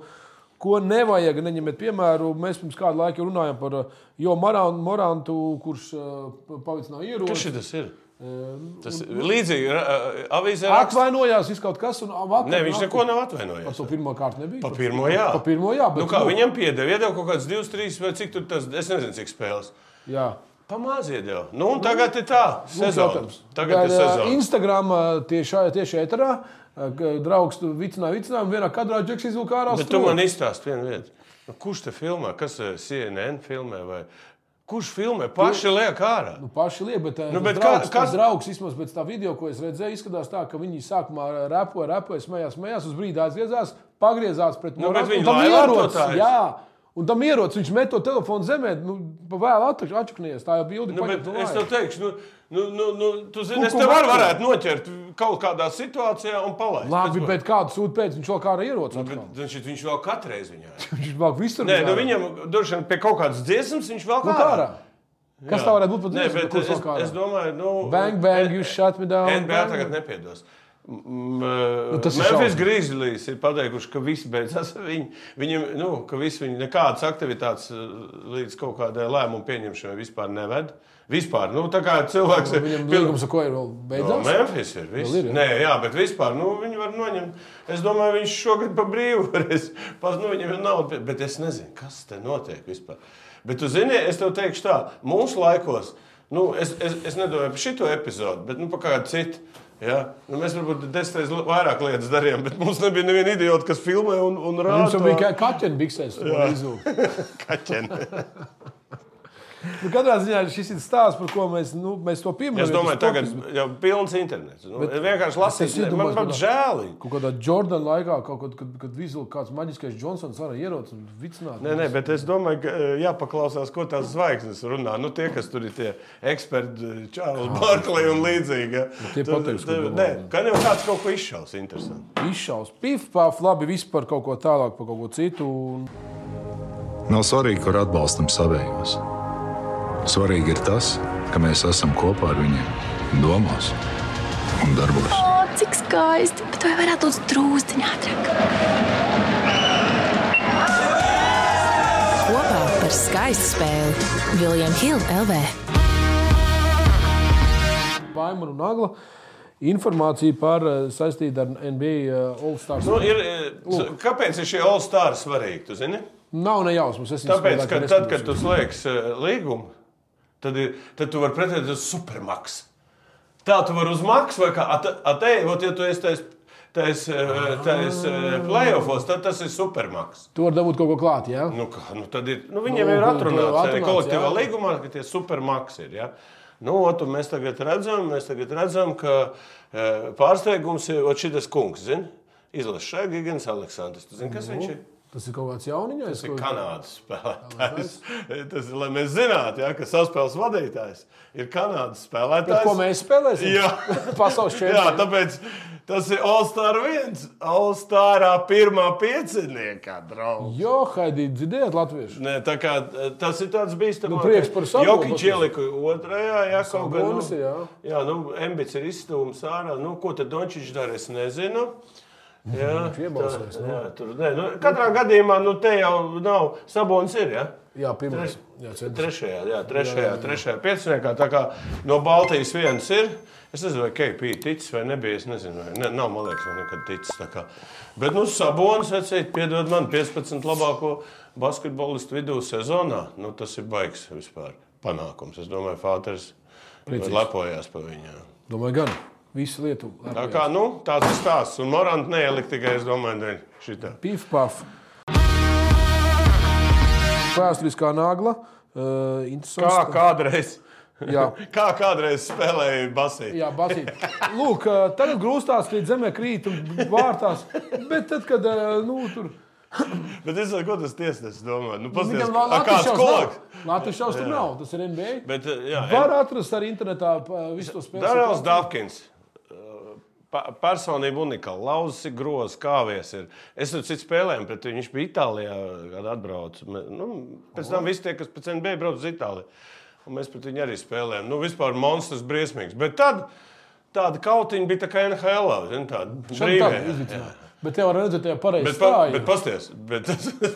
Speaker 3: ko nevajag neņemt. Piemēram, mēs pirms kāda laika jau runājām par uh, Jo Marānu, Morantu, kurš uh, pavicināja
Speaker 2: Kas
Speaker 3: ieroci.
Speaker 2: šis ir? Tas ir līdzīgi ra- avīzē. raksta.
Speaker 3: Atvainojās, viss kaut kas, un vakar,
Speaker 2: Nē, viņš neko nav atvainojis.
Speaker 3: Par to pirmā kārtu nebija.
Speaker 2: Pa pirmo, jā.
Speaker 3: Pa pirmo, jā, bet
Speaker 2: nu, kā,
Speaker 3: nu-
Speaker 2: viņam piedeva, iedeva kaut kādas divas, trīs vai cik tur tas, es nezinu, cik spēles.
Speaker 3: Jā.
Speaker 2: Pamāziet jau. Nu, un tagad ir tā, sezona.
Speaker 3: Jautājums.
Speaker 2: Tagad ir sezona.
Speaker 3: Instagram tiešā, tiešā eterā g- draugs tu vicināja, vicināja, un vienā kadrā džeks izvilka ārā.
Speaker 2: Bet tu man izstāsti vienu lietu. Nu, kurš te filmē? Kas eh, CNN filmē? Vai... Kurš filmē? Paši liek ārā.
Speaker 3: Nu, paši liek, bet, nu,
Speaker 2: bet
Speaker 3: bet draugs,
Speaker 2: kā-
Speaker 3: kā,
Speaker 2: kas-
Speaker 3: kas... draugs, vismaz pēc tā video, ko es redzēju, izskatās tā, ka viņi sākumā repoja, repoja, smējās, smējās, uz brīdi aizgriezās, pagriezās pret
Speaker 2: Nu,
Speaker 3: Moratu,
Speaker 2: bet viņi
Speaker 3: un tam
Speaker 2: laivārtotājs.
Speaker 3: ierocis, jā, un tam ierocis, viņš met to telefonu zemē, nu, pa vēlu atč- atčuknies, tā jau bildi
Speaker 2: Nu, bet
Speaker 3: paņemt no
Speaker 2: es
Speaker 3: vāja.
Speaker 2: tev teikšu, nu, nu, nu, nu tu zini,
Speaker 3: Nu,
Speaker 2: es
Speaker 3: ko
Speaker 2: tev
Speaker 3: var-
Speaker 2: varu varētu noķert kaut kādā situācijā un palaist.
Speaker 3: Labi,
Speaker 2: Tas var.
Speaker 3: bet kādu sūdu pēc viņš vēl kā ar ieroci atkal.
Speaker 2: Nu, Bet viņš- viņš vēl katreiz viņā. ir.
Speaker 3: Viņš vēl visur.
Speaker 2: Nē,
Speaker 3: ir
Speaker 2: nu
Speaker 3: ārā.
Speaker 2: viņam droši vien pie kaut kādas dziesmas viņš vēl
Speaker 3: Nu,
Speaker 2: kā
Speaker 3: kā ārā. Kas tā varētu būt pat
Speaker 2: Nē,
Speaker 3: dziesma,
Speaker 2: bet
Speaker 3: ko
Speaker 2: es,
Speaker 3: saka?
Speaker 2: es domāju, nu,
Speaker 3: Bang, bang, you shut me down.
Speaker 2: NBA
Speaker 3: Bang.
Speaker 2: tagad nepiedos. Nu,
Speaker 3: tas ir
Speaker 2: Memphis
Speaker 3: šausmas.
Speaker 2: Grizzlies ir pateikuši, ka viss beidzas. Viņi, viņam, nu, ka visi viņi nekādas aktivitātes eh, līdz kaut kādai lēmumu pieņemšanai vispār neved. Vispār, nu, tā kā cilvēks ir
Speaker 3: Viņam
Speaker 2: piln-
Speaker 3: līgums ar ko ir vēl
Speaker 2: No,
Speaker 3: beidzās?
Speaker 2: Memphis ir viss.
Speaker 3: Vēl ir, jā.
Speaker 2: Nē, jā, bet vispār nu, viņi var noņemt. Es domāju, viņš šogad pa brīvu varēs. Pats, nu, viņam ir nauda, bet es nezinu, kas te notiek vispār. Bet, tu zini, es tev teikšu tā, mūsu laikos, nu, es, es, es nedomāju par šito epizodu, bet nu, par kādu citu. Ja? Nu, mēs varbūt desmit reizes vairāk lietas darījām, bet mums nebija neviena idiota, kas filmē un, un rāda.
Speaker 3: Mums jau bija kā kaķeni biksēs. Nu,
Speaker 2: kaķene.
Speaker 3: katrā ziņā šis ir stāsts, par ko mēs, nu, mēs to pieminam.
Speaker 2: Es domāju,
Speaker 3: Tas
Speaker 2: tagad
Speaker 3: topis-
Speaker 2: jau pilns internets. Nu,
Speaker 3: Bet
Speaker 2: bet, vienkārši
Speaker 3: es
Speaker 2: lasīt,
Speaker 3: iedomājos,
Speaker 2: man pat
Speaker 3: kādā-
Speaker 2: žēl.
Speaker 3: Kaut kādā Jordāna laikā, kaut kad, kad, kad vizuli kāds maģiskais Džonsons arī ierodas un vicinās.
Speaker 2: Nē, nē, bet es domāju, ka e, jāpaklausās, ko tās zvaigznes runā. Nu, tie, kas tur ir tie eksperti, e, Čārlis Barkley un līdzīgi.
Speaker 3: tie pateiks, ko domā.
Speaker 2: nē, Nu, ka jau kāds kaut ko izšaus. Interesanti.
Speaker 3: Izšaus, pif, paf, labi, vispār kaut ko tālāk par kaut ko citu. Un
Speaker 4: Nav svarīgi, kur atbalstam savējos. Svarīgi ir tas, ka mēs esam kopā ar viņiem, domās un darbos.
Speaker 5: O, cik skaisti, bet vai varētu būt drūzti ātrāk?
Speaker 6: Kopā par skaistu spēli Viljam Hill LV.
Speaker 3: Vaimara un Agla informācija par eh, saistītu ar NBA eh, All-Stars.
Speaker 2: Nu, ir, e, s- kāpēc ir šie all-star svarīgi? tu zini?
Speaker 3: Nav ne jausmas. Es viņus
Speaker 2: Tāpēc,
Speaker 3: spēlētāju
Speaker 2: ka tad,
Speaker 3: neskatījos.
Speaker 2: kad tu slēgs e, līgumu, tad, ir, tad tu vari pretendēt uz supermaksu. Tā tu vari uz maksu vai kā atēvot, ja tu esi tais, tais, e, tais e, playoffos, tad tas ir supermaksa.
Speaker 3: Tu vari dabūt kaut ko klāt, jā?
Speaker 2: Nu, kā, nu, tad ir, nu, viņiem nu,
Speaker 3: Nu,
Speaker 2: ir
Speaker 3: nu,
Speaker 2: atrunāts
Speaker 3: nu,
Speaker 2: arī
Speaker 3: atrunāts,
Speaker 2: kolektīvā
Speaker 3: jā.
Speaker 2: līgumā, ka tie supermaksi ir. Ja? Nu, ot, un mēs tagad redzam, mēs tagad redzam ka e, pārsteigums ir šis kungs. Zin? Izlasa šai Gigantas Aleksandrs. Tu zini, kas viņš ir?
Speaker 3: Tas ir kaut kāds jauniņais.
Speaker 2: Tas ir Kanādas spēlētājs. Tas ir, lai mēs zinātu, ja, ka saspēles vadītājs ir Kanādas
Speaker 3: Bet
Speaker 2: spēlētājs.
Speaker 3: Nu, ko mēs spēlēsim?
Speaker 2: Jā.
Speaker 3: Pasaules
Speaker 2: Jā,
Speaker 3: čempionāts.
Speaker 2: tāpēc tas ir All-Star 1, All-Starā pirmā pieciniekā, draugs.
Speaker 3: Jo, Haidī, dzirdējāt latviešu?
Speaker 2: Nē, tā kā, eh, tas ir tāds bīstamāks.
Speaker 3: Nu, prieks par savu,
Speaker 2: Jokiņš
Speaker 3: paskatās.
Speaker 2: ielika otrajā, jā, kaut kā.
Speaker 3: Sabonis,
Speaker 2: Nu,
Speaker 3: jā.
Speaker 2: jā, nu, ambits ir izstūmis ārā. Nu, ko tad Dončiņš dara, es nezinu. Jā,
Speaker 3: iebalsojis,
Speaker 2: tā- jā, tur, nē, nu, katrā gadījumā nu, te jau nav sabonis. Ir, jā?
Speaker 3: Jā, pirmais.
Speaker 2: Treš-
Speaker 3: Jā, centrs.
Speaker 2: Trešajā, jā, trešajā, trešajā pieciniekā. Tā kā no Baltijas viens ir. Es nezinu, vai KP ticis vai nebija. Es nezinu, vai ne, nav, man liekas, man nekad ticis. tā kā. Bet, nu, Sabonis, vecīt, piedod man 15 labāko basketbolistu vidū sezonā. Nu, tas ir baigs vispār panākums. Es domāju, Fāters lepojās par viņu.
Speaker 3: Domāju, gan. Visu lietu.
Speaker 2: Tā kā, nu, tāds ir stāsts. Un Morant neielikt tikai, es domāju, dēļ šitā.
Speaker 3: Pif, paf. Vēsturiskā nagla. Uh,
Speaker 2: Kā
Speaker 3: interesants.
Speaker 2: kādreiz,
Speaker 3: Jā.
Speaker 2: kā kādreiz spēlēja basīt.
Speaker 3: Jā, basīt. Lūk, ā, tagad grūstās, krīt zemē, krīt un vārtās. Bet tad, kad, ā, nu, tur.
Speaker 2: Bet es saku, ko tas tiesnesis domā. Nu, pasties,
Speaker 3: Viņam
Speaker 2: a, kāds kolaks?
Speaker 3: Latvijas šaus tur nav, tas ir NBA.
Speaker 2: Bet, eh, jā,
Speaker 3: Var atrast arī internetā ā, visu to spēku.
Speaker 2: Darēls Dafkins. Eh, Pa- Personība unikāla. Lauzis ir grozs, kāvies ir. Es tur citu spēlēju, bet viņš bija Itālijā, kad atbrauca. Mē- Nu, pēc tam visi tie, kas pēc NBA brauc uz Itāliju. Un mēs pret viņu arī spēlējām. Nu, vispār monstrs briesmīgs. Bet tad tāda kautiņa bija tā kā NHL. Zin, tāda brīvē.
Speaker 3: Brīvē. Bet te var redzēt, tajā pareizi
Speaker 2: Bet, pa, bet
Speaker 3: stāja.
Speaker 2: pasties, bet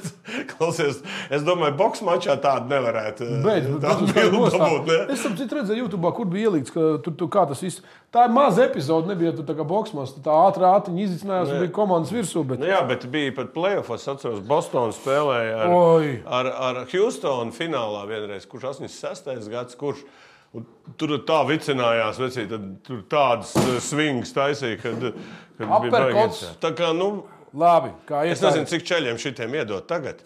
Speaker 2: klausies, es domāju, boxe mačā tādu nevarētu. eh,
Speaker 3: Bet, bet,
Speaker 2: tādu
Speaker 3: bet,
Speaker 2: bildi
Speaker 3: bet,
Speaker 2: dabūt, ne?
Speaker 3: es tam citu redzēju, YouTube, kur bija ielikts, ka tur, tur kā tas viss. Tā ir maza epizode, nebija tur tā kā boxmas. Tā ātrā ātriņa izicinājās un bija komandas virsū. Bet...
Speaker 2: Nu Jā, bet bija pat plēsoņos. Es atceros, Bostonas spēlēja ar,
Speaker 3: Oi.
Speaker 2: ar, ar Houstonu finālā vienreiz, kurš 86. gads, kurš un tur tā vicinājās, vecī, tad, tur tādas svings taisīja, kad, kad bija
Speaker 3: Uppercuts.
Speaker 2: baigi. Tā kā, nu,
Speaker 3: Labi, kā iet.
Speaker 2: es nezinu, cik ceļiem šitiem iedot tagad.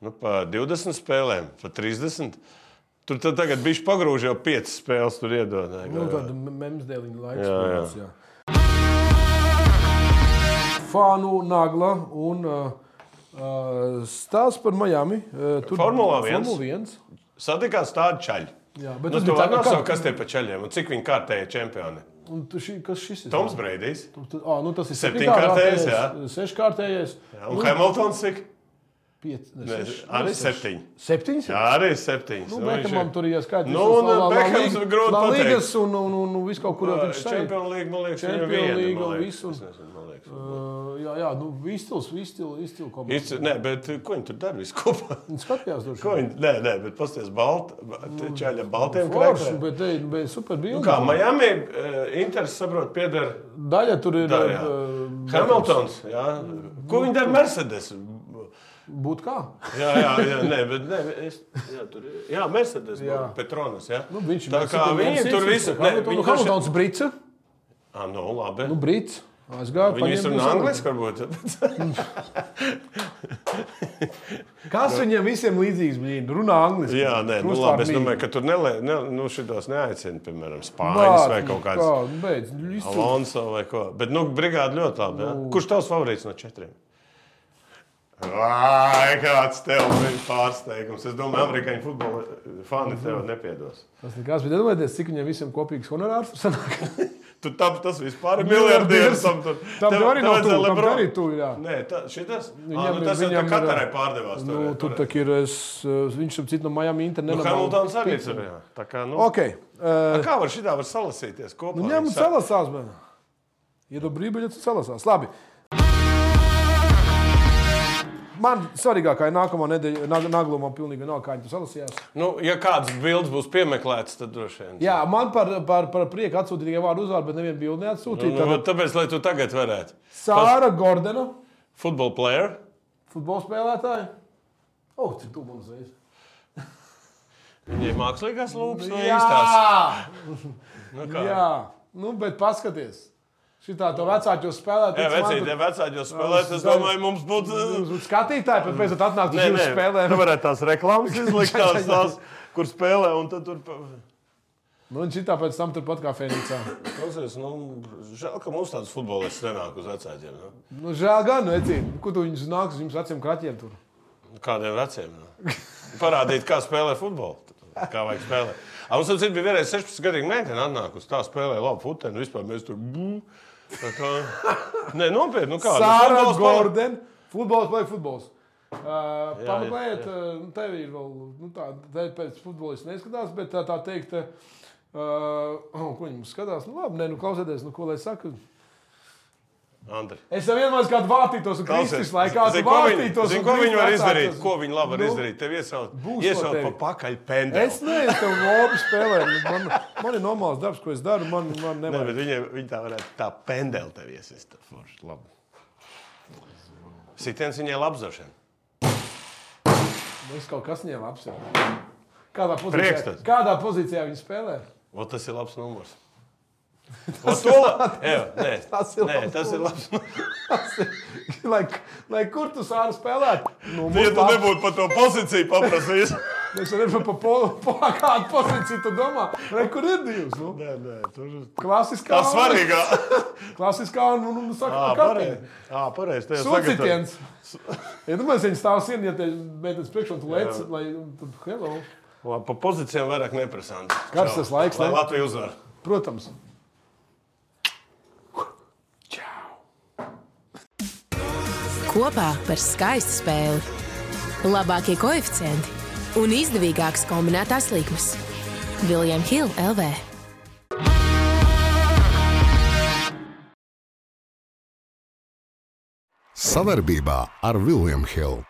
Speaker 2: Nu, pa 20 spēlēm, pa 30. Tur tad tagad bija pagrūž jau 5 spēles, tur iedod.
Speaker 3: Nu, tāda memzdēliņa laika
Speaker 2: Jā, jā.
Speaker 3: spēlēts. jā. Fānu, Nagla un uh, uh, stāsts par Miami. Uh, tur
Speaker 2: Formulā viens.
Speaker 3: Formula 1.
Speaker 2: Satikās tādi čaļi.
Speaker 3: Jā, bet
Speaker 2: bet nu,
Speaker 3: tas
Speaker 2: tu
Speaker 3: bija tā,
Speaker 2: vari
Speaker 3: ka
Speaker 2: nosaukt,
Speaker 3: kad-
Speaker 2: kas tie pa čaļiem un cik viņi kārtēja čempioni.
Speaker 3: Un tu šī, kas šis ir?
Speaker 2: Toms Breidijs.
Speaker 3: Tu- tu- ā, nu, tas ir
Speaker 2: Septiņkārtējais,
Speaker 3: septiņkārtējais, seškārtējais.
Speaker 2: Un Hamiltons cik?
Speaker 3: Pieci, ne,
Speaker 2: Ne,
Speaker 3: seši,
Speaker 2: arī
Speaker 3: ne, seši.
Speaker 2: septiņi.
Speaker 3: Septiņas?
Speaker 2: Jā, arī septiņas.
Speaker 3: Nu,
Speaker 2: Nu,
Speaker 3: Bekamam
Speaker 2: viņš ir-
Speaker 3: tur ir skaitlis.
Speaker 2: Nu, un Bekhams ir grūti
Speaker 3: Līgas
Speaker 2: pateikt.
Speaker 3: un, un, un, un visu kaut kur jau viņš sajūt.
Speaker 2: Čempionu līga, man liekas,
Speaker 3: Champions
Speaker 2: viņam viena,
Speaker 3: League
Speaker 2: man
Speaker 3: un
Speaker 2: liekas.
Speaker 3: visu.
Speaker 2: Es nezinu, man liekas.
Speaker 3: Uh, Jā, jā, nu, izcils, izcils, izcils
Speaker 2: Viņš,
Speaker 3: komandas.
Speaker 2: nē, bet eh, ko viņi tur dara visu kopā?
Speaker 3: Skatījās, droši
Speaker 2: Ko
Speaker 3: vien.
Speaker 2: viņi, nē, nē, bet pasties balta, čaļa baltiem
Speaker 3: Nu, Forši,
Speaker 2: krēkliem.
Speaker 3: bet, ej, bet super bija.
Speaker 2: Nu kā, Miami, eh, Inters, saprot, pieder
Speaker 3: Daļa tur ir.
Speaker 2: Daļa, jā.
Speaker 3: eh,
Speaker 2: Hamiltons, jā. Ko viņi dara Mercedes?
Speaker 3: Būt kā?
Speaker 2: Jā, jā, jā, nē, bet nē, es, jā, tur ir, jā, Mercedes,
Speaker 3: Jā.
Speaker 2: Petronas, jā.
Speaker 3: Nu, viņš
Speaker 2: Tā kā viņi tur visu, nē,
Speaker 3: Hamiltons,
Speaker 2: viņi
Speaker 3: nu,
Speaker 2: tur
Speaker 3: Hamiltons brīca.
Speaker 2: Ah, nu, labi.
Speaker 3: Nu, brīts. Aizgāja.
Speaker 2: Viņi
Speaker 3: paņēma
Speaker 2: visur no
Speaker 3: visu.
Speaker 2: angliski varbūt.
Speaker 3: Kas viņiem visiem līdzīgs bija? Runā angliski.
Speaker 2: Jā, nē, nu,
Speaker 3: Krustvārdi
Speaker 2: labi, es
Speaker 3: mīl.
Speaker 2: domāju, ka tur nelē, ne, nu, šitos neaicina, piemēram, spāņus
Speaker 3: Bāc,
Speaker 2: vai kaut kāds.
Speaker 3: kā, nu, Beidz. visu.
Speaker 2: Alonso vai ko. Bet, nu, brigāde ļoti labi. Ja? Kurš tavs favorīts no četriem? Ai, kāds tev bija pārsteigums. Es domāju, amerikāņu futbola fani tev nepiedos.
Speaker 3: Tas nekas, bet iedomājieties, cik viņiem visiem kopīgs honorārs sanāk.
Speaker 2: Tu tam tas vispār ir miljardieris. Tam tur
Speaker 3: Tam
Speaker 2: tev-
Speaker 3: jau arī
Speaker 2: tev
Speaker 3: nav
Speaker 2: vajadzēja
Speaker 3: tuvu, tam
Speaker 2: Lebron-
Speaker 3: arī tuvu, jā.
Speaker 2: Nē, tā, šitas,
Speaker 3: Viņam
Speaker 2: viņam, à,
Speaker 3: ir-
Speaker 2: nu, tas viņam
Speaker 3: viņam ir,
Speaker 2: Katarai
Speaker 3: jā.
Speaker 2: pārdevās.
Speaker 3: Nu, tur tā ir. Es, eh, viņš tam citam no Miami
Speaker 2: Nu,
Speaker 3: internetā.
Speaker 2: Hamiltons arī tur. jā. Tā kā, nu,
Speaker 3: Ok. eh,
Speaker 2: A Kā var šitā var salasīties kopā?
Speaker 3: Nu, ņem un
Speaker 2: Viņi sa-
Speaker 3: salasās. Man. Ja dobrī biļets un salasās. Labi. Man svarīgākā ir nākamā nedēļa, nā- nākamā man pilnīgi vienalga, kā viņi to salasījās.
Speaker 2: Nu, ja kāds bildes būs piemeklēts, tad droši vien.
Speaker 3: Jā, man par, par, par prieku atsūtīja tikai vārdu uzvārdu, bet nevienu bildi
Speaker 2: Nu,
Speaker 3: neatsūtīja.
Speaker 2: nu,
Speaker 3: Tātad
Speaker 2: bet tāpēc, lai tu tagad varētu.
Speaker 3: Sāra Gordona,
Speaker 2: Football player.
Speaker 3: futbola spēlētāja. O, cik tu man zini?
Speaker 2: Viņai mākslīgās lūpas no nu, īstās.
Speaker 3: Jā,
Speaker 2: Nu, kā?
Speaker 3: jā. Nu, bet paskaties. Šitā to vecākos
Speaker 2: Jā, vecīt, ja
Speaker 3: spēlētājiem.
Speaker 2: vecāģi jau spēlē, tad es domāju, mums būtu...
Speaker 3: Skatītāji, pat pēc tam atnāk uz jūsu
Speaker 2: tu
Speaker 3: spēlēm.
Speaker 2: varētu tās reklāmas izlikt,
Speaker 3: Jā, jā,
Speaker 2: tās,
Speaker 3: jā.
Speaker 2: tās, kur spēlē, un tad tur... pa-
Speaker 3: Nu, un šitā pēc tam turpat kā Fēniksā.
Speaker 2: Klausies, nu, žēl, ka mums tāds futbolists nenāk uz vecāģiem. Nu.
Speaker 3: Nu, žēl gan, redzīt, kur tu viņus nāk uz jums acīm kraķiem tur.
Speaker 2: Kādiem veciem? Nu. Parādīt, kā spēlē futbolu. Kā vajag spēlēt. A, mums apcīt, bija vienreiz 16 gadīgi meitene atnākusi, tā spēlēja labu futenu, vispār mēs tur... bū. Tā kā... Nē, nopietni, nu kā? nu,
Speaker 3: Sāra
Speaker 2: futbols paliek-
Speaker 3: Gordon, futbols vai futbols. Uh,
Speaker 2: Jā,
Speaker 3: Pameklējiet, uh, nu, tev ir vēl, nu, tā, tā pēc futbolists neskatās, bet tā, tā teikt, uh, oh, ko viņi mums skatās, nu, labi, nē, nu, klausieties, nu, ko lai saka.
Speaker 2: Andri.
Speaker 3: Es jau vienmēr kādu vārtītos, un Kristus laikā
Speaker 2: Zini,
Speaker 3: tu
Speaker 2: ko viņi,
Speaker 3: vārtītos.
Speaker 2: zini,
Speaker 3: un
Speaker 2: ko viņi var
Speaker 3: Kristus
Speaker 2: izdarīt?
Speaker 3: vecātos.
Speaker 2: Ko viņi labi var
Speaker 3: Nu,
Speaker 2: izdarīt? Tev iesaukt,
Speaker 3: būs no
Speaker 2: iesaukt
Speaker 3: tevi.
Speaker 2: pa pakaļ pendeli.
Speaker 3: Es nezinu, tev lopu spēlē, nu, man, man ir normāls darbs, ko es daru, man, man
Speaker 2: Nē,
Speaker 3: nevajag.
Speaker 2: bet viņi, viņi tā varētu tā pendeli tev iesist. Forši, labi. Sitiens viņai labzošana.
Speaker 3: Mums kaut kas viņam apsver. Kādā pozīcijā,
Speaker 2: Priekšstats.
Speaker 3: kādā pozīcijā viņi spēlē?
Speaker 2: O, tas ir labs numurs. O, to, la... Jā, nē,
Speaker 3: Tas ir
Speaker 2: nē,
Speaker 3: labs
Speaker 2: tas ir labs numurs.
Speaker 3: lai, lai kur tu sāri spēlēt?
Speaker 2: Ja
Speaker 3: Nu, mums
Speaker 2: tu
Speaker 3: tā-
Speaker 2: nebūtu par to pozīciju paprasījis.
Speaker 3: Mēs varam pa, po, pa kādu pozīciju tu domā. Lai kur ir divas? Nu?
Speaker 2: Nē, nē, tur
Speaker 3: Klasiskā
Speaker 2: tā svarīgā.
Speaker 3: Klasiskā un, un, un saka, nu,
Speaker 2: Ā,
Speaker 3: kā
Speaker 2: pareizi. Ā, pareizi. tev sagatavo.
Speaker 3: Sūcitiens. Ja domājies, viņi stāv sienā, ja te meitenes priekšā un tu lec, lai, tad hello.
Speaker 2: Labi, pa pozīcijām vairāk neprasām.
Speaker 3: Karstas laiks,
Speaker 2: Lai
Speaker 3: ne?
Speaker 2: Latvija uzvar.
Speaker 3: Protams.
Speaker 6: Kopā par skaistu spēli. Labākie koeficienti un izdevīgākas kombinētās likmes. Viljams Hilde LV.
Speaker 1: Savarbībā ar William Hill.